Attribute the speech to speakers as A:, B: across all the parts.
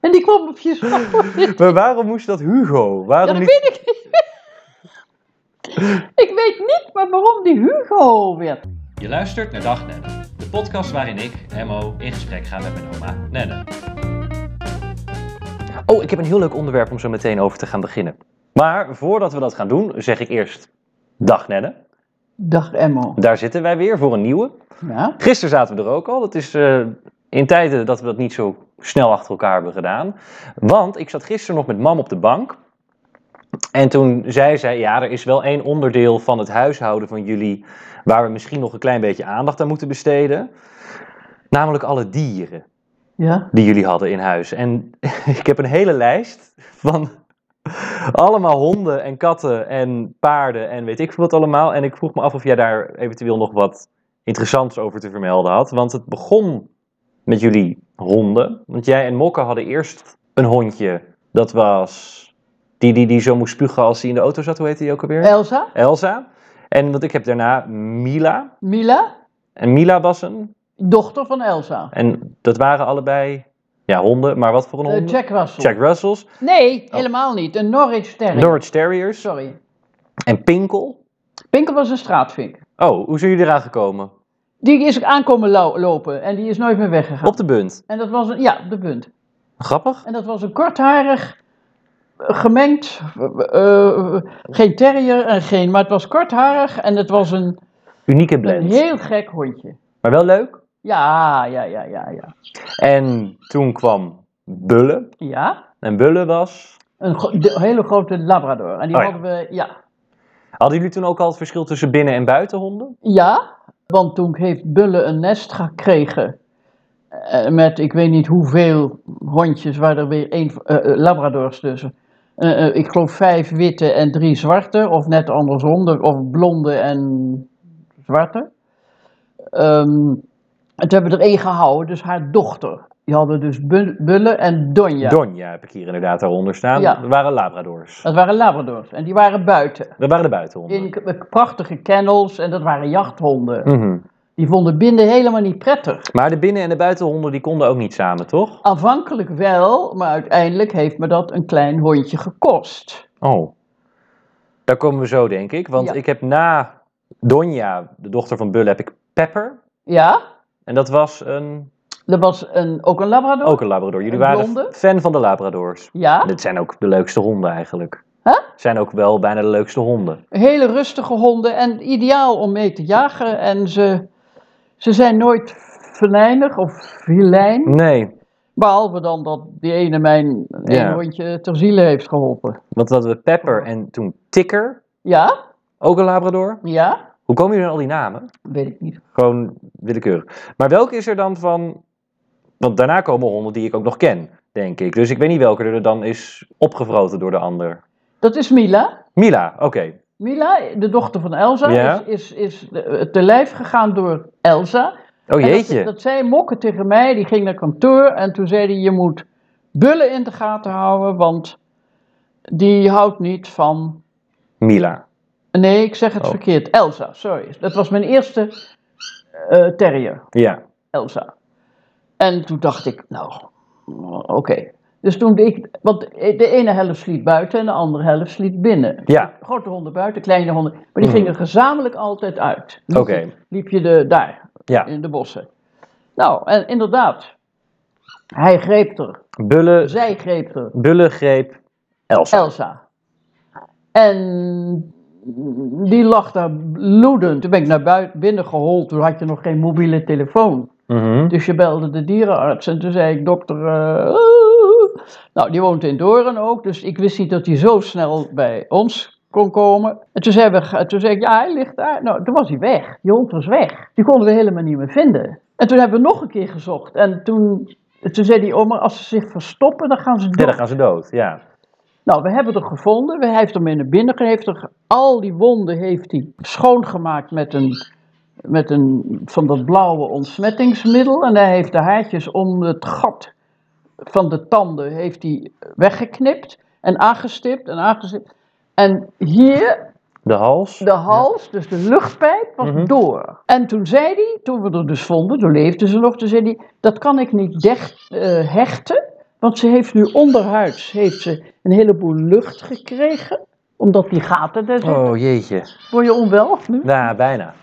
A: die kwam op je schouder.
B: Maar waarom moest dat Hugo?
A: Ja,
B: Waarom
A: dat
B: niet
A: weet ik niet. ik weet niet maar waarom die Hugo werd.
C: Je luistert naar Dag Nenne, de podcast waarin ik, Emmo, in gesprek ga met mijn oma Nenne.
B: Oh, ik heb een heel leuk onderwerp om zo meteen over te gaan beginnen. Maar voordat we dat gaan doen, zeg ik eerst dag Nenne.
A: Dag Emmo.
B: Daar zitten wij weer voor een nieuwe.
A: Ja?
B: Gisteren zaten we er ook al. Dat is eh, in tijden dat we dat niet zo snel achter elkaar hebben gedaan. Want ik zat gisteren nog met mam op de bank. En toen zei zij, ja, er is wel één onderdeel van het huishouden van jullie... waar we misschien nog een klein beetje aandacht aan moeten besteden. Namelijk alle dieren.
A: Ja?
B: die jullie hadden in huis. En ik heb een hele lijst van allemaal honden en katten en paarden en weet ik veel wat allemaal. En ik vroeg me af of jij daar eventueel nog wat interessants over te vermelden had. Want het begon met jullie honden. Want jij en Mokka hadden eerst een hondje. Dat was die, die, die zo moest spugen als hij in de auto zat. Hoe heette die ook alweer?
A: Elsa?
B: Elsa. En want ik heb daarna Mila.
A: Mila?
B: En Mila was een.
A: Dochter van Elsa.
B: En dat waren allebei ja, honden. Maar wat voor een
A: Eh,
B: hond?
A: Jack Russell.
B: Jack Russells,
A: Nee,
B: Oh.
A: helemaal niet. Een Norwich Terrier.
B: Norwich Terriers
A: Sorry.
B: en Pinkel.
A: Pinkel was een straatvink.
B: Oh, hoe zijn jullie eraan gekomen?
A: Die is aankomen lo- lopen en die is nooit meer weggegaan.
B: Op de bunt.
A: En dat was een, ja, op de punt.
B: Grappig.
A: En dat was een kortharig, eh, gemengd, eh, eh, geen terrier en geen, maar het was kortharig en het was een,
B: Unieke
A: een
B: blend.
A: heel gek hondje.
B: Maar wel leuk.
A: Ja, ja, ja, ja, ja.
B: En toen kwam Bulle.
A: Ja,
B: En Bulle was...
A: een gro- de- hele grote labrador. En die
B: Oh ja.
A: hadden we, ja.
B: Hadden jullie toen ook al het verschil tussen binnen- en buitenhonden?
A: Ja, want toen heeft Bulle een nest gekregen eh, met ik weet niet hoeveel hondjes, waar er weer één, eh, eh, labradors tussen. Eh, eh, ik geloof vijf witte en drie zwarte, of net andersom, de- of blonde en zwarte. Ehm het hebben er één gehouden, dus haar dochter. Die hadden dus Bu- Bulle en Donja.
B: Donja heb ik hier inderdaad daaronder staan.
A: Ja.
B: Dat waren labradors.
A: dat waren labradors en die waren buiten.
B: Dat waren de buitenhonden.
A: In k- eh, prachtige kennels en dat waren jachthonden.
B: Mhm.
A: Die vonden binden helemaal niet prettig.
B: Maar de binnen- en de buitenhonden die konden ook niet samen, toch?
A: Aanvankelijk wel, maar uiteindelijk heeft me dat een klein hondje gekost.
B: Oh. Daar komen we zo, denk ik. Want
A: Ja.
B: ik heb na Donja, de dochter van Bulle, heb ik Pepper.
A: Ja,
B: En dat was een
A: er was een, ook een labrador.
B: Ook een labrador. Jullie
A: Een
B: waren
A: blonde?
B: fan van de labradors.
A: Ja,
B: Dit zijn ook de leukste honden eigenlijk.
A: Huh?
B: Zijn ook wel bijna de leukste honden.
A: hele rustige honden en ideaal om mee te jagen. En ze, ze zijn nooit venijnig of vilijn,
B: Nee,
A: behalve dan dat die ene mijn een
B: Ja.
A: hondje ter ziele heeft geholpen.
B: want dat we Pepper en toen Tikker,
A: Ja,
B: ook een labrador.
A: ja,
B: Hoe komen jullie aan al die namen?
A: weet ik niet.
B: Gewoon willekeurig. Maar welke is er dan van... Want daarna komen honden die ik ook nog ken, denk ik. Dus ik weet niet welke er dan is opgevroten door de ander.
A: Dat is Mila.
B: Mila, oké. Oh,
A: Mila, de dochter van Elsa,
B: Ja.
A: is, is, is eh, te lijf gegaan door Elsa.
B: Oh
A: En
B: jeetje.
A: Dat, dat zei Mokke tegen mij, die ging naar kantoor en toen zei hij: Je moet bullen in de gaten houden, want die houdt niet van.
B: Mila.
A: Nee, ik zeg het
B: Oh.
A: verkeerd. Elsa, sorry. Dat was mijn eerste eh, terrier,
B: Ja.
A: Elsa. En toen dacht ik: Nou, oké. Dus toen ik, want de ene helft sliep buiten en de andere helft sliep binnen.
B: Ja,
A: Grote honden buiten, kleine honden. Maar die
B: Mhm.
A: gingen gezamenlijk altijd uit.
B: oké.
A: Liep je- Liep je de, daar,
B: Ja.
A: in de bossen. Nou, en inderdaad. Hij greep er.
B: Bulle,
A: Zij greep er.
B: Bulle greep Elsa.
A: Elsa. En die lag daar bloedend. Toen ben ik naar buiten, binnen gehold. Toen had je nog geen mobiele telefoon.
B: Mhm.
A: Dus je belde de dierenarts. En toen zei ik, dokter... eh, nou, die woont in Doorn ook. Dus ik wist niet dat hij zo snel bij ons kon komen. En toen zei, we, ga- toen zei ik, ja, hij ligt daar. Nou, toen was hij weg. Die hond was weg. Die konden we helemaal niet meer vinden. En toen hebben we nog een keer gezocht. En toen, toen zei die oma, als ze zich verstoppen, dan gaan ze
B: Ja,
A: dood.
B: dan gaan ze dood, ja.
A: Nou, we hebben er gevonden. We hij heeft hem in de binnen ge- heeft er, Al die wonden heeft hij schoongemaakt met een, met een van dat blauwe ontsmettingsmiddel. En hij heeft de haartjes om het gat van de tanden heeft hij weggeknipt en aangestipt en aangestipt. En hier
B: De hals.
A: de hals, dus de luchtpijp, was
B: Mhm.
A: door. En toen zei hij, toen we er dus vonden, toen leefde ze nog, toen zei hij, dat kan ik niet dech- eh, hechten, Want ze heeft nu onderhuids heeft ze een heleboel lucht gekregen. Omdat die gaten er zijn.
B: Oh jeetje.
A: Word je onwel nu?
B: Nou, bijna.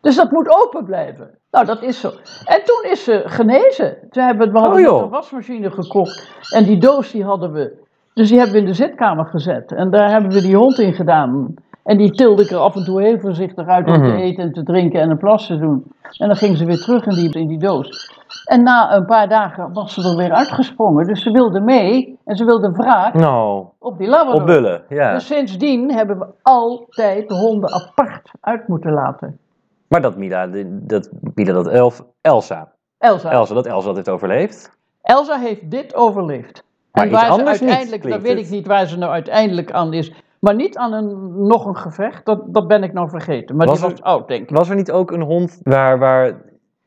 A: Dus dat moet open blijven. Nou, dat is zo. En toen is ze genezen. Toen hebben we, we hadden
B: Oh, joh.
A: net een wasmachine gekocht. En die doos die hadden we. Dus die hebben we in de zitkamer gezet. En daar hebben we die hond in gedaan. En die tilde ik er af en toe heel voorzichtig uit om
B: Mhm.
A: te eten en te drinken en een plas te doen. En dan ging ze weer terug in die, in die doos. En na een paar dagen was ze er weer uitgesprongen. Dus ze wilde mee en ze wilde wraak
B: Nou,
A: op die labrador.
B: op bullen. Ja.
A: Oh, Dus sindsdien hebben we altijd de honden apart uit moeten laten.
B: Maar dat Mila, dat, Mila, dat elf, Elsa.
A: Elsa.
B: Elsa, dat Elsa dat heeft overleefd.
A: Elsa heeft dit overleefd.
B: Maar
A: en
B: iets
A: waar ze
B: anders niet,
A: uiteindelijk, dat
B: klinkt
A: weet
B: het.
A: ik niet waar ze nou uiteindelijk aan is. Maar niet aan een, nog een gevecht, dat, dat ben ik nou vergeten. Maar
B: Was
A: die
B: er-
A: was oud, denk ik.
B: Was er niet ook een hond waar, waar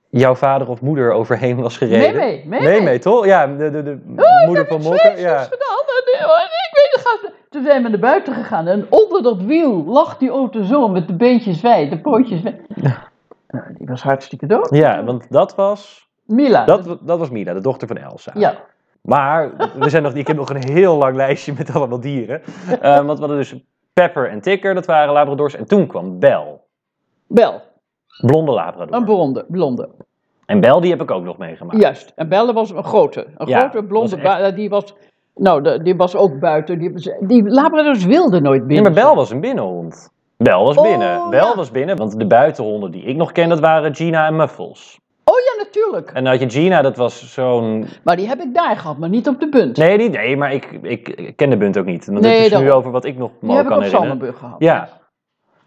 B: jouw vader of moeder overheen was gereden?
A: mee, mee,
B: Nee,
A: mee. Oh,
B: mee, toch? Ja, de, de, de Oh, moeder van Mokker.
A: Jezus,
B: Ja.
A: gedaan. En, eh, en Ik weet het gaat. Toen zijn we naar buiten gegaan en onder dat wiel lag die auto zo met de beentjes wijd, de pootjes wijd. Nou, die was hartstikke dood.
B: ja, want dat was,
A: Mila.
B: dat, wa- dat was Mila, de dochter van Elsa.
A: ja.
B: Maar we zijn nog, ik heb nog een heel lang lijstje met allemaal dieren. Eh, want we hadden dus Pepper en Ticker, dat waren labradors. En toen kwam Bel,
A: Bel,
B: blonde labrador.
A: een blonde, blonde.
B: en Bel, die heb ik ook nog meegemaakt.
A: Juist, en Belle was een grote. Een
B: Ja,
A: grote blonde,
B: was echt-
A: ba- die was... Nou, de- die was ook buiten. Die, die labradors wilden nooit
B: Nee,
A: binnen.
B: maar Bel was een binnenhond. Bel was
A: Oh,
B: binnen. Bel
A: ja.
B: was binnen, want de buitenhonden die ik nog ken, dat waren Gina en Muffles.
A: Oh ja, natuurlijk.
B: En dan had je Gina, dat was zo'n...
A: Maar die heb ik daar gehad, maar niet op de punt.
B: Nee, die, nee maar ik, ik, ik ken de bunt ook niet. Want
A: Nee,
B: het is nu
A: daarom.
B: over wat ik nog
A: die
B: me
A: heb ik
B: kan
A: op
B: herinneren.
A: Salmenburg gehad.
B: Ja.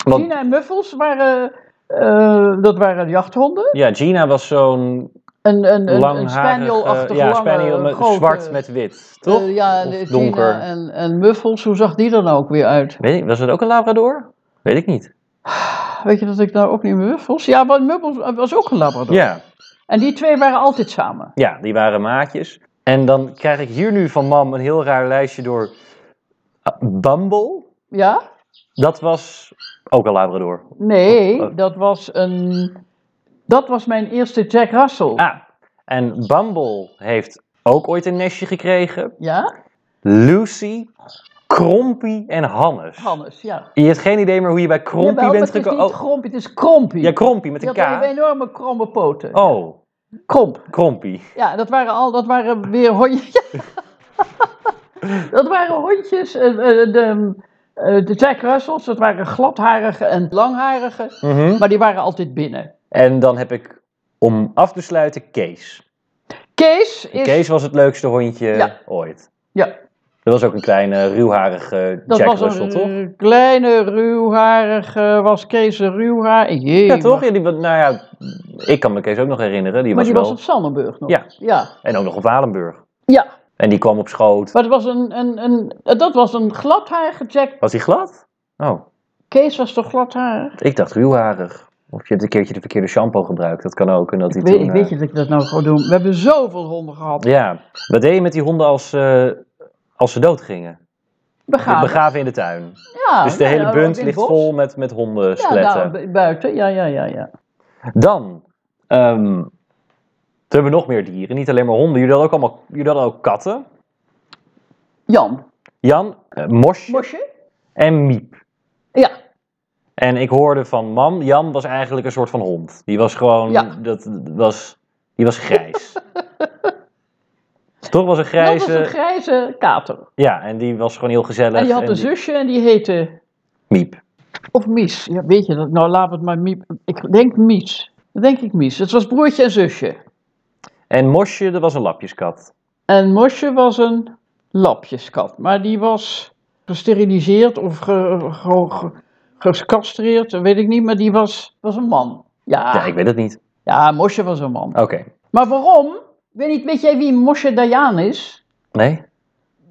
B: Want,
A: Gina en Muffels waren... eh, dat waren jachthonden.
B: Ja, Gina was zo'n
A: Een, een, een, een
B: langharige...
A: spanielachtige,
B: Ja,
A: lange,
B: spaniel met,
A: grote,
B: zwart met wit, toch?
A: eh, ja,
B: Of
A: de-
B: donker.
A: Gina en, en Muffels, hoe zag die er nou ook weer uit?
B: Weet ik, was het ook een labrador? Weet ik niet.
A: Weet je dat ik nou ook niet meer Muffels? Ja, maar Muffels was ook een labrador.
B: Ja.
A: En die twee waren altijd samen.
B: Ja, die waren maatjes. En dan krijg ik hier nu van mam een heel raar lijstje door Ah, Bumble.
A: Ja?
B: Dat was ook een labrador.
A: Nee,
B: Oh.
A: dat was een. Dat was mijn eerste Jack Russell.
B: Ah, en Bumble heeft ook ooit een nestje gekregen.
A: Ja?
B: Lucy, Krompie en Hannes.
A: Hannes, ja.
B: Je hebt geen idee meer hoe je bij Krompie
A: Jawel,
B: bent
A: maar Het is
B: gekomen. oh.
A: niet Krompie, het is Krompie.
B: ja, Krompie met
A: Die
B: een
A: had een
B: K.
A: enorme kromme poten.
B: Oh,
A: Kromp.
B: Krompie.
A: Ja, dat waren al, dat waren weer hondjes. dat waren hondjes, eh, eh, de, eh, de Jack Russells, dat waren gladharige en langharige,
B: Mhm.
A: maar die waren altijd binnen.
B: En dan heb ik, om af te sluiten, Kees.
A: Kees is,
B: Kees was het leukste hondje
A: Ja.
B: ooit.
A: ja,
B: Dat was ook een kleine, ruwharige
A: dat
B: Jack
A: was
B: Russell,
A: een
B: toch?
A: eh, kleine ruwharige, was Kees een ruwhaar. Jee,
B: Ja,
A: maar-
B: toch? Ja, die, wa- nou ja, ik kan me Kees ook nog herinneren. Die
A: maar
B: was
A: die
B: wel...
A: was op Sandenburg nog.
B: Ja.
A: ja.
B: En ook nog op Walenburg.
A: Ja.
B: En die kwam op schoot.
A: Maar het was een, een, een, dat was een gladharige Jack.
B: Was hij glad? Oh,
A: Kees was toch gladharig?
B: ik dacht ruwharig. Of je hebt een keertje de verkeerde shampoo gebruikt. Dat kan ook. En dat hij
A: Ik weet,
B: toen,
A: ik
B: eh,
A: weet je dat ik dat nou gewoon doe. We hebben zoveel honden gehad.
B: Ja. Wat deed je met die honden als, eh, als ze dood gingen?
A: Begaan.
B: Begraven in de tuin.
A: Ja,
B: dus de
A: nou
B: hele
A: ja,
B: bunt
A: in
B: ligt
A: bos.
B: vol met, met
A: Ja,
B: hondenskeletten.
A: nou, bu- buiten. Ja, ja, ja, ja.
B: Dan. ehm, toen hebben we nog meer dieren. Niet alleen maar honden. Jullie hadden ook, allemaal, jullie hadden ook katten.
A: Jan.
B: Jan, eh, Mosje
A: Mosje?
B: en Miep.
A: Ja.
B: En ik hoorde van mam, Jan was eigenlijk een soort van hond. Die was gewoon,
A: Ja.
B: dat, was, die was grijs. Toch was een grijze,
A: Dat was een grijze kater.
B: ja, en die was gewoon heel gezellig.
A: En die had een zusje en die heette...
B: Miep.
A: Of Mies. Ja, weet je dat? Nou, laat het maar Miep. Ik denk Mies. Dat denk ik Mies. Het was broertje en zusje.
B: En Mosje, dat was een lapjeskat.
A: En Mosje was een lapjeskat, maar die was gesteriliseerd of ge, ge- ge- gecastreerd, dat weet ik niet, maar die was, was een man. Ja,
B: Ja, ik weet het niet.
A: ja, Mosje was een man.
B: Oké.
A: Maar waarom? Ik Weet, niet, weet jij wie Mosje Dayan is?
B: Nee?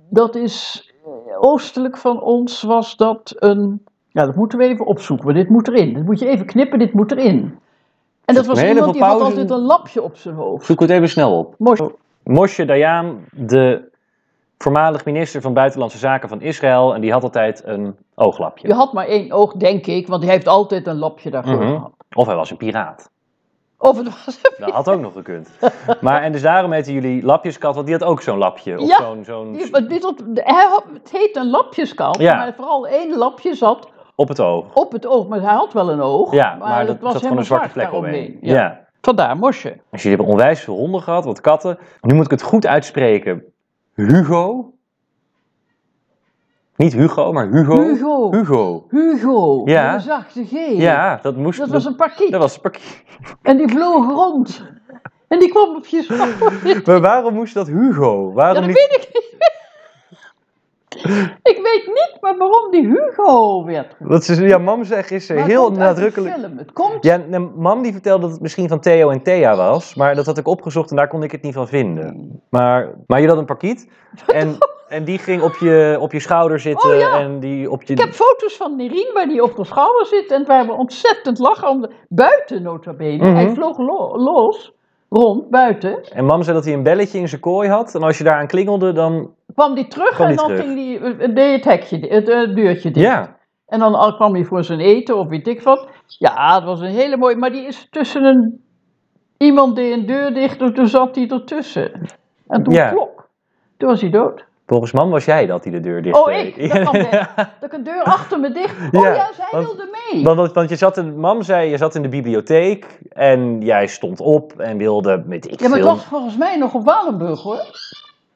A: Dat is, eh, oostelijk van ons was dat een, ja dat moeten we even opzoeken, want dit moet erin. Dit moet je even knippen, dit moet erin. En dat was
B: Hele
A: iemand die had
B: pauze. Oh,
A: altijd een lapje op zijn hoofd.
B: Zoek het even snel op.
A: Mosje,
B: Moshe Dayan, de voormalig minister van Buitenlandse Zaken van Israël. En die had altijd een ooglapje.
A: je had maar één oog, denk ik, want hij heeft altijd een lapje daarvoor
B: Mhm.
A: gehad.
B: Of hij was een piraat.
A: Of het was
B: Dat had ook nog gekund. Maar, en dus daarom heten jullie lapjeskat, want die had ook zo'n lapje. Of
A: Ja,
B: zo'n, zo'n
A: Die- maar dit had- hij had- het heet een lapjeskamp,
B: Ja.
A: maar vooral één lapje zat
B: op het oog.
A: op het oog. Maar hij had wel een oog,
B: Ja, maar,
A: het was
B: dat, zat gewoon
A: helemaal
B: een zwarte
A: zwart
B: vlek
A: daaromheen.
B: omheen.
A: Ja.
B: ja.
A: Vandaar mosje.
B: Dus jullie hebben onwijs veel honden gehad, wat katten. Nu moet ik het goed uitspreken. Hugo? Niet Hugo, maar Hugo.
A: Hugo.
B: Hugo.
A: Hugo,
B: Ja.
A: met een zachte G.
B: Ja, dat moest...
A: Dat was een pakiet.
B: dat was een pak-
A: En die vloog rond. En die kwam op je schouder.
B: Maar waarom moest dat Hugo?
A: Ja,
B: Waarom
A: dat
B: niet...
A: weet ik niet. Ik weet niet maar waarom die Hugo werd.
B: Wat ze, ja, mam zegt is eh,
A: Maar het
B: heel
A: komt uit de
B: nadrukkelijk...
A: film. Het komt
B: Ja, nee, mam die vertelde dat het misschien van Theo en Thea was, maar dat had ik opgezocht en daar kon ik het niet van vinden. Maar, maar je had een parkiet en, en die ging op je, op je schouder zitten
A: Oh, ja.
B: en die op je...
A: Ik heb foto's van Nirien waar die op de schouder zit en waar we ontzettend lachen om de, buiten nota bene.
B: Mhm.
A: Hij vloog lo- los, rond, buiten.
B: En mam zei dat hij een belletje in zijn kooi had. En als je daaraan klingelde, dan.
A: Kwam die terug
B: Kwam
A: en
B: die
A: dan
B: terug.
A: ging die, eh, deed het hekje, di- het eh, deurtje dicht.
B: Ja.
A: En dan al- kwam hij voor zijn eten of weet ik wat. Ja, het was een hele mooie, maar die is tussen een, iemand die een deur dicht doet, toen zat hij ertussen. En toen
B: Ja.
A: klok. Toen was hij dood.
B: Volgens mam was jij dat die de deur dicht
A: Oh,
B: deed.
A: ik? Dat kan best. Dat ik een deur achter me dicht. Oh
B: Ja,
A: ja, zij
B: want-
A: wilde mee.
B: Want, want- want je zat in, mam zei, je zat in de bibliotheek en jij stond op en wilde met ik
A: Ja, maar het
B: veel-
A: was volgens mij nog op Walenburg hoor.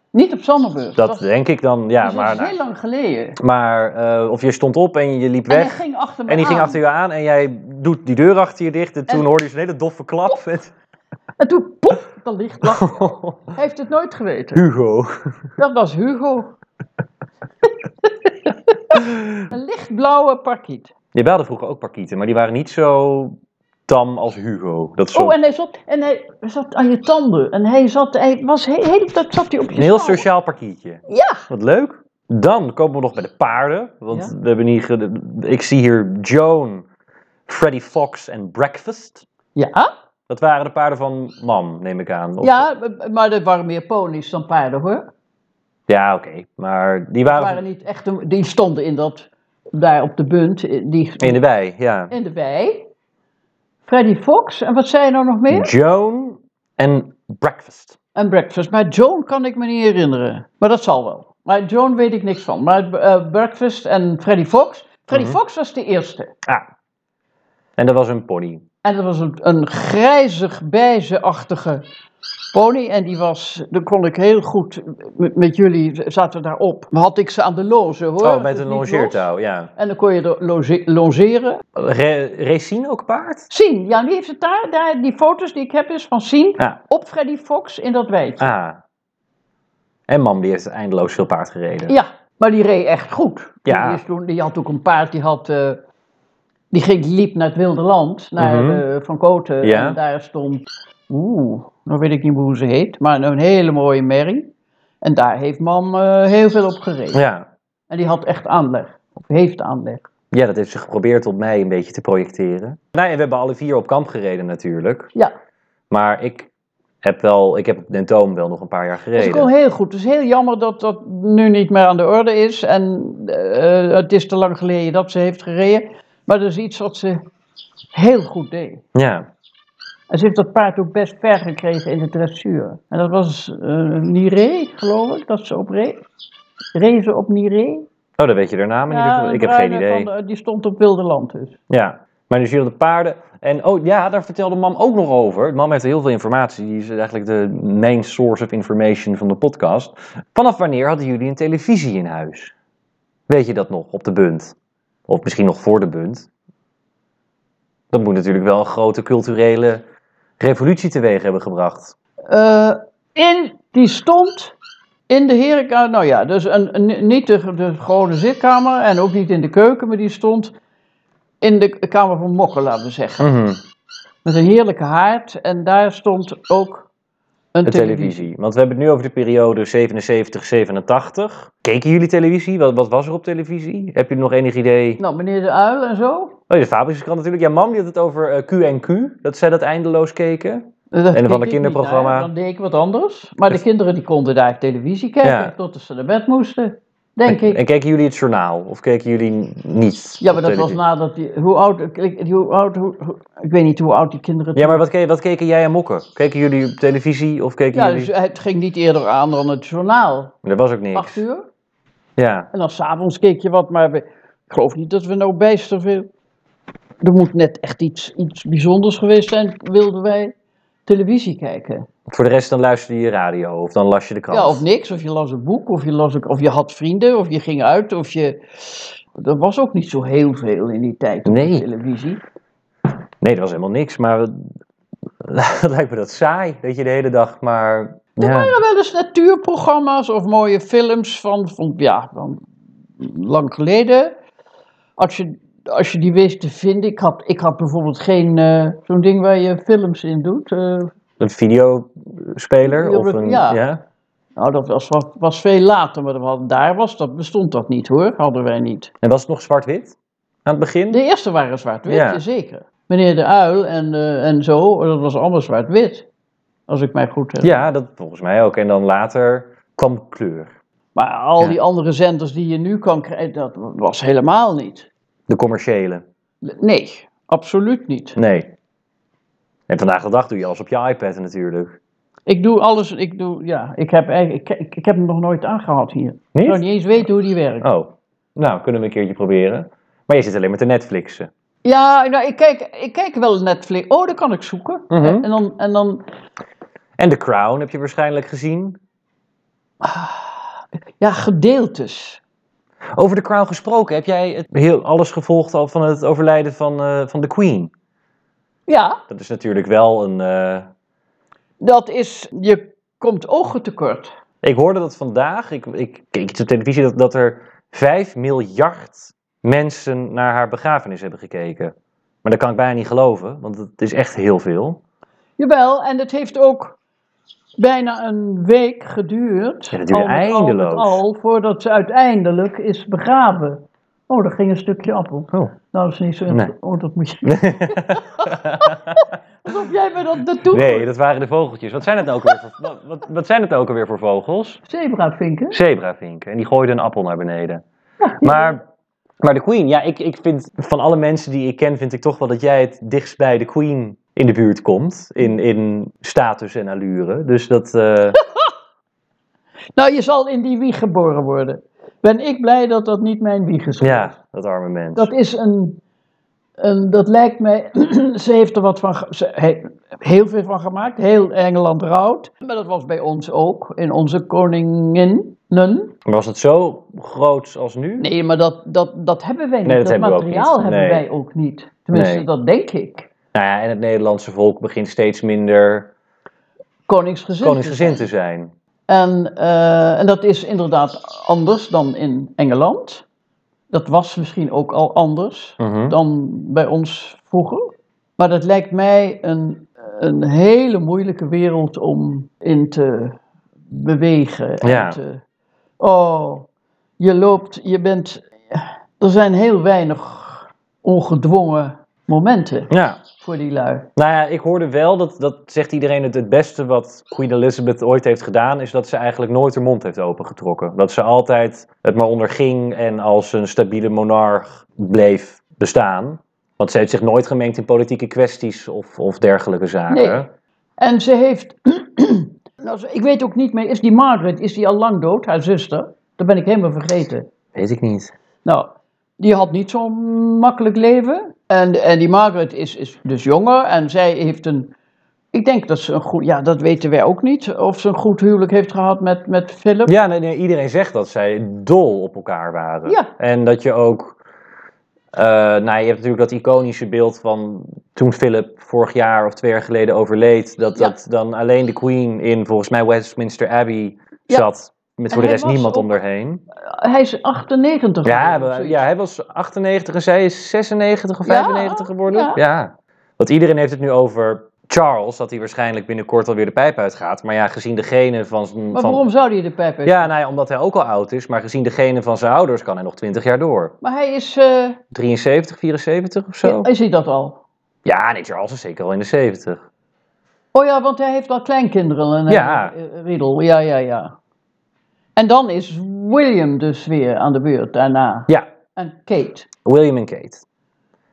A: Niet op Zandenburg.
B: Dat
A: was,
B: denk ik dan, ja.
A: dus dat
B: maar
A: is heel lang geleden.
B: maar eh, of je stond op en je liep
A: en hij
B: weg
A: ging achter me
B: en die ging
A: aan.
B: achter je aan en jij doet die deur achter je dicht. En toen
A: En-
B: hoorde je zo'n hele doffe klap.
A: En toen, pop, dat licht lag. Hij heeft het nooit geweten.
B: Hugo.
A: Dat was Hugo. een lichtblauwe parkiet.
B: Je belde vroeger ook parkieten, maar die waren niet zo tam als Hugo. Dat is zo
A: Oh, en hij, zat, en hij zat aan je tanden. En hij zat, hij was he- de hele tijd zat hij op je
B: Een heel
A: schouder.
B: sociaal parkietje.
A: Ja.
B: Wat leuk. Dan komen we nog bij de paarden. Want
A: Ja.
B: we hebben hier, ge- ik zie hier Joan, Freddy Fox en Breakfast.
A: Ja,
B: Dat waren de paarden van mam, neem ik aan. Of-
A: ja, maar er waren meer ponies dan paarden hoor.
B: Ja, oké. Maar die
A: Die,
B: waren,
A: waren niet echt een- die stonden in dat, daar op de bunt. eh, Die,
B: in de wei, ja.
A: En de wij. Freddy Fox. En wat zei je nou nog meer?
B: Joan en Breakfast.
A: En Breakfast. Maar Joan kan ik me niet herinneren. Maar dat zal wel. Maar Joan weet ik niks van. Maar eh, Breakfast en Freddy Fox. Freddy
B: Mhm.
A: Fox was de eerste.
B: Ah. En dat was een pony.
A: En dat was een, een grijzig, bijzeachtige pony. En die was, daar kon ik heel goed, met, met jullie zaten daarop. Had ik ze aan de lozen hoor.
B: Oh, met
A: Dus
B: een
A: niet los.
B: longeertouw, ja.
A: En dan kon je er loge- longeren.
B: Re- Racine ook paard?
A: Sien, ja, die heeft het daar, daar. Die foto's die ik heb is van Sien
B: Ja.
A: op Freddy Fox in dat wijtje.
B: Ah. En mam, die heeft eindeloos veel paard gereden.
A: Ja, maar die reed echt goed.
B: Ja.
A: Die, is toen, die had ook een paard, die had... eh, die ging, die liep naar het Wilde Land, naar
B: Mhm.
A: eh, Van Koten.
B: Ja.
A: En daar stond, oeh, nou weet ik niet meer hoe ze heet, maar een hele mooie merrie. En daar heeft mam eh, heel veel op gereden.
B: ja.
A: En die had echt aanleg, of heeft aanleg. Dus
B: Ja, dat heeft ze geprobeerd op mij een beetje te projecteren. Nou, en we hebben alle vier op kamp gereden natuurlijk.
A: Ja,
B: Maar ik heb wel, ik heb Dentoom wel nog een paar jaar
A: dus ik
B: gereden.
A: kon heel goed. Het is heel jammer dat dat nu niet meer aan de orde is. En eh, het is te lang geleden dat ze heeft gereden. Maar dat is iets wat ze heel goed deed.
B: Ja,
A: En ze heeft dat paard ook best ver gekregen in de dressuur. En dat was eh Niré, geloof ik, dat ze op reed. Rezen op Niré.
B: oh, dan weet je haar naam in ieder geval.
A: een
B: Ik heb geen
A: bruine
B: idee.
A: van de- die stond op Wilde Land dus.
B: Ja, maar dus jullie de paarden. En oh ja, daar vertelde mam ook nog over. Mam heeft heel veel informatie. Die is eigenlijk de main source of information van de podcast. Vanaf wanneer hadden jullie een televisie in huis? Weet je dat nog, op de bunt? Of misschien nog voor de bunt? Dat moet natuurlijk wel een grote culturele revolutie teweeg hebben gebracht.
A: Eh, in, die stond in de herenkamer. Nou ja, dus een, een- niet de, de gewone zitkamer en ook niet in de keuken, maar die stond in de kamer van Mokken, laten we zeggen.
B: Mhm,
A: Met een heerlijke haard en daar stond ook een,
B: de
A: televisie.
B: televisie. Want we hebben het nu over de periode 77, 87. Keken jullie televisie? Wat, wat was er op televisie? Heb je nog enig idee?
A: Nou, meneer de Uil en zo.
B: Oh, de Fabrische krant natuurlijk. Ja, mam die had het over eh, Q&Q, dat zij dat eindeloos keken.
A: Dat
B: een of
A: deed
B: ander
A: ik niet,
B: kinderprogramma.
A: hè. Dan deed ik wat anders. Maar de kinderen die konden daar televisie kijken
B: Ja.
A: tot ze naar bed moesten. denk ik.
B: En keken jullie het journaal? Of keken jullie niet?
A: Ja,
B: op
A: maar dat was
B: televisie?
A: nadat die. Hoe oud. Ik, hoe oud hoe, hoe- ik weet niet hoe oud die kinderen.
B: Ja, maar wat, ke- wat keken jij en Mokke? Keken jullie op televisie of keken
A: Ja,
B: jullie...
A: dus het ging niet eerder aan dan het journaal.
B: Er was ook niks.
A: Acht uur.
B: Ja.
A: En dan s'avonds keek je wat, maar we, ik geloof niet dat we nou bijster veel. Er moet net echt iets, iets bijzonders geweest zijn, wilden wij televisie kijken.
B: Voor de rest dan luisterde je radio of dan las je de krant.
A: Ja, of niks, of je las een boek, of je, las een, of je had vrienden, of je ging uit, of je... Er was ook niet zo heel veel in die tijd op
B: Nee.
A: de televisie.
B: Nee, dat was helemaal niks, maar het het lijkt me dat saai, dat je de hele dag maar...
A: Er
B: Ja.
A: waren wel eens natuurprogramma's of mooie films van, van ja, van lang geleden. Als je, als je die wist te vinden, ik had, ik had bijvoorbeeld geen, eh, zo'n ding waar je films in doet. eh,
B: Een videospeler
A: Ja,
B: of een...
A: ja.
B: ja?
A: nou, dat was, was, was veel later, maar we hadden- daar was, dat bestond dat niet hoor, hadden wij niet.
B: En was het nog zwart-wit aan het begin?
A: De eerste waren zwart-wit,
B: Ja.
A: ja, zeker. Meneer de Uil en, eh, en zo, dat was allemaal zwart-wit. Als ik mij goed herinner.
B: Ja, dat volgens mij ook. En dan later kwam kleur.
A: Maar al
B: Ja.
A: die andere zenders die je nu kan krijgen, dat was helemaal niet.
B: De commerciële.
A: Nee, absoluut niet.
B: Nee. En vandaag de dag doe je alles op je iPad natuurlijk.
A: Ik doe alles, ik doe, ja, ik heb, eigenlijk- ik, ik, ik heb hem nog nooit aangehad hier. Ik zou
B: Niet?
A: Oh, niet eens weten hoe die werkt.
B: Oh, nou, kunnen we een keertje proberen. Maar je zit alleen maar te Netflixen.
A: Ja, nou, ik kijk, ik kijk wel Netflix. Oh, dan kan ik zoeken.
B: Mhm.
A: En dan, en dan,
B: En The Crown heb je waarschijnlijk gezien.
A: ja, gedeeltes.
B: Over The Crown gesproken, heb jij het heel, alles gevolgd al van het overlijden van, eh, van de Queen?
A: Ja,
B: Dat is natuurlijk wel een... eh,
A: dat is, je komt ogen tekort.
B: Ik hoorde dat vandaag, ik, ik keek iets op televisie, dat, dat er 5 miljard mensen naar haar begrafenis hebben gekeken. Maar dat kan ik bijna niet geloven, want het is echt heel veel.
A: Jawel, en het heeft ook bijna een week geduurd.
B: Ja, dat duurde
A: al met al met
B: eindeloos.
A: Al, voordat ze uiteindelijk is begraven. Oh, daar ging een stukje appel.
B: Oh.
A: Nou, dat is niet zo interessant. Oh, dat moet je... Alsof jij me dat, dat doet.
B: nee, dat waren de vogeltjes. Wat zijn het nou ook alweer voor, wat- wat, wat zijn het nou ook alweer voor vogels?
A: Zebravinken.
B: Zebravinken. En die gooiden een appel naar beneden. Maar, maar de Queen, ja, ik, ik vind van alle mensen die ik ken, vind ik toch wel dat jij het dichtst bij de Queen in de buurt komt. In, in status en allure. Dus dat. eh,
A: Nou, je zal in die wieg geboren worden. Ben ik blij dat dat niet mijn wieg is. geweest.
B: Ja, dat arme mens.
A: Dat is een, een. Dat lijkt mij. ze heeft er wat van. ge- Ze he- heel veel van gemaakt. Heel Engeland rouwt. Maar dat was bij ons ook. In onze koninginnen.
B: Maar was het zo groot als nu?
A: Nee, maar dat, dat, dat hebben wij niet.
B: Nee, dat hebben we ook
A: materiaal
B: niet.
A: hebben
B: Nee.
A: wij ook niet. Tenminste,
B: Nee.
A: dat denk ik.
B: Nou ja, en het Nederlandse volk begint steeds minder
A: Koningsgezind.
B: koningsgezind te zijn.
A: En, eh, en dat is inderdaad anders dan in Engeland. Dat was misschien ook al anders.
B: Mhm.
A: dan bij ons vroeger. Maar dat lijkt mij een, een hele moeilijke wereld om in te bewegen. en
B: Ja.
A: te- oh, je loopt, je bent. Er zijn heel weinig ongedwongen momenten
B: Ja,
A: voor die lui.
B: nou ja, ik hoorde wel, dat, dat zegt iedereen, het, het beste wat Queen Elizabeth ooit heeft gedaan, is dat ze eigenlijk nooit haar mond heeft opengetrokken. Dat ze altijd het maar onderging en als een stabiele monarch bleef bestaan. Want ze heeft zich nooit gemengd in politieke kwesties of, of dergelijke zaken.
A: Nee. En ze heeft. nou, ze- ik weet ook niet meer, is die Margaret, is die al lang dood, haar zuster? Dat ben ik helemaal vergeten.
B: Weet ik niet.
A: Nou, die had niet zo'n makkelijk leven. En, en die Margaret is, is dus jonger en zij heeft een. Ik denk dat ze een goed. Ja, dat weten wij ook niet. Of ze een goed huwelijk heeft gehad met, met Philip.
B: Ja, nee, nee, iedereen zegt dat zij dol op elkaar waren.
A: Ja.
B: En dat je ook. eh, nou, je hebt natuurlijk dat iconische beeld van toen Philip vorig jaar of twee jaar geleden overleed. Dat,
A: Ja.
B: dat dan alleen de Queen in volgens mij Westminster Abbey
A: Ja.
B: zat. Met
A: En
B: voor de
A: hij
B: rest
A: was
B: niemand
A: ook-
B: om daarheen.
A: Hij is 98.
B: Ja,
A: geworden,
B: we-
A: zoiets.
B: ja, hij was 98 en zij is 96 of
A: Ja,
B: 95 geworden. Ja.
A: ja.
B: Want iedereen heeft het nu over Charles, dat hij waarschijnlijk binnenkort alweer de pijp uitgaat. Maar ja, gezien de genen van, zijn-
A: Maar
B: van
A: waarom zou hij de pijp hebben?
B: ja, nou ja, omdat hij ook al oud is, maar gezien de genen van zijn ouders kan hij nog 20 jaar door.
A: Maar hij is. eh,
B: 73, 74 of zo?
A: is hij dat al?
B: Ja, nee, Charles is zeker al in de 70.
A: Oh ja, want hij heeft al kleinkinderen. En,
B: Ja.
A: eh, eh, Riedel, ja, ja, ja. En dan is William dus weer aan de beurt daarna.
B: Ja,
A: En Kate.
B: William en Kate.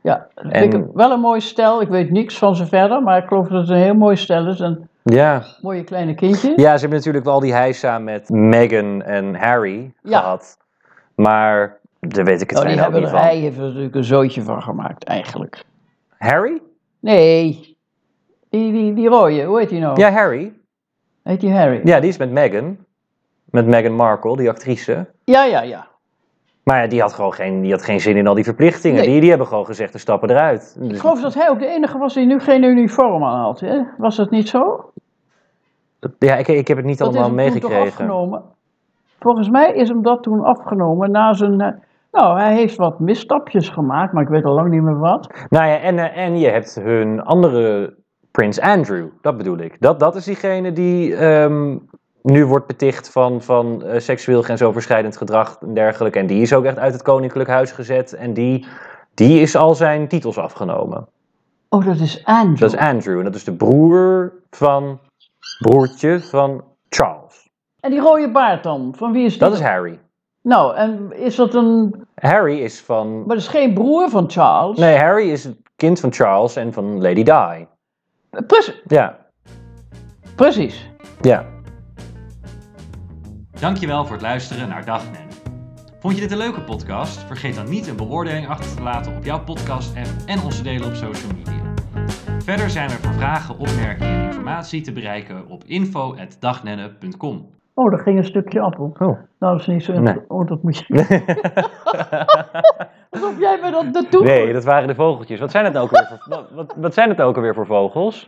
A: Ja, vind ik wel een mooi stel. Ik weet niks van ze verder, maar ik geloof dat het een heel mooi stel is. Een
B: Ja.
A: mooie kleine kindje.
B: Ja, nou, ze hebben natuurlijk wel die heisa met Meghan en Harry
A: Ja.
B: gehad. Maar daar weet ik het
A: Oh, die
B: fijn ook
A: hebben
B: niet
A: er,
B: van.
A: hij heeft er natuurlijk een zootje van gemaakt, eigenlijk.
B: Harry?
A: Nee, die, die, die rode, hoe heet die nou?
B: Ja, Harry.
A: Heet die Harry?
B: Ja, die is met Meghan. Met Meghan Markle, die actrice.
A: ja, ja. ja.
B: Maar ja, die had gewoon geen, die had geen zin in al die verplichtingen.
A: Nee.
B: Die, die hebben gewoon gezegd, we stappen eruit. Dus,
A: Ik geloof dat hij ook de enige was die nu geen uniform aan had. Hè? Was dat niet zo?
B: Ja, ik, ik heb het niet
A: Dat is
B: allemaal
A: hem toen toch
B: meegekregen.
A: afgenomen? Volgens mij is hem dat toen afgenomen na zijn... eh, Nou, hij heeft wat misstapjes gemaakt, maar ik weet al lang niet meer wat.
B: Nou ja, en, eh, en je hebt hun andere Prins Andrew, dat bedoel ik. Dat, dat is diegene die ehm, nu wordt beticht van, van eh, seksueel grensoverschrijdend gedrag en dergelijke. En die is ook echt uit het koninklijk huis gezet. En die, die is al zijn titels afgenomen.
A: Oh, dat is Andrew.
B: Dat is Andrew. En dat is de broer van, broertje van Charles.
A: En die rode baard dan, van wie is die?
B: Dat is Harry.
A: Nou, en is dat een...
B: Harry is van...
A: Maar dat is geen broer van Charles.
B: Nee, Harry is het kind van Charles en van Lady Di.
A: Precies.
B: Ja,
A: Precies.
B: ja.
C: Dankjewel voor het luisteren naar Dag Nen. Vond je dit een leuke podcast? Vergeet dan niet een beoordeling achter te laten op jouw podcast app en onze delen op social media. Verder zijn we voor vragen, opmerkingen en informatie te bereiken op info.dagnenne.com.
A: Oh, daar ging een stukje appel.
B: Oh.
A: Nou, dat is niet zo...
B: Nee.
A: Oh, dat moet je... Alsof jij me dat doet.
B: Nee, dat waren de vogeltjes. Wat zijn het nou ook weer voor, wat, wat, wat zijn het nou ook alweer voor vogels?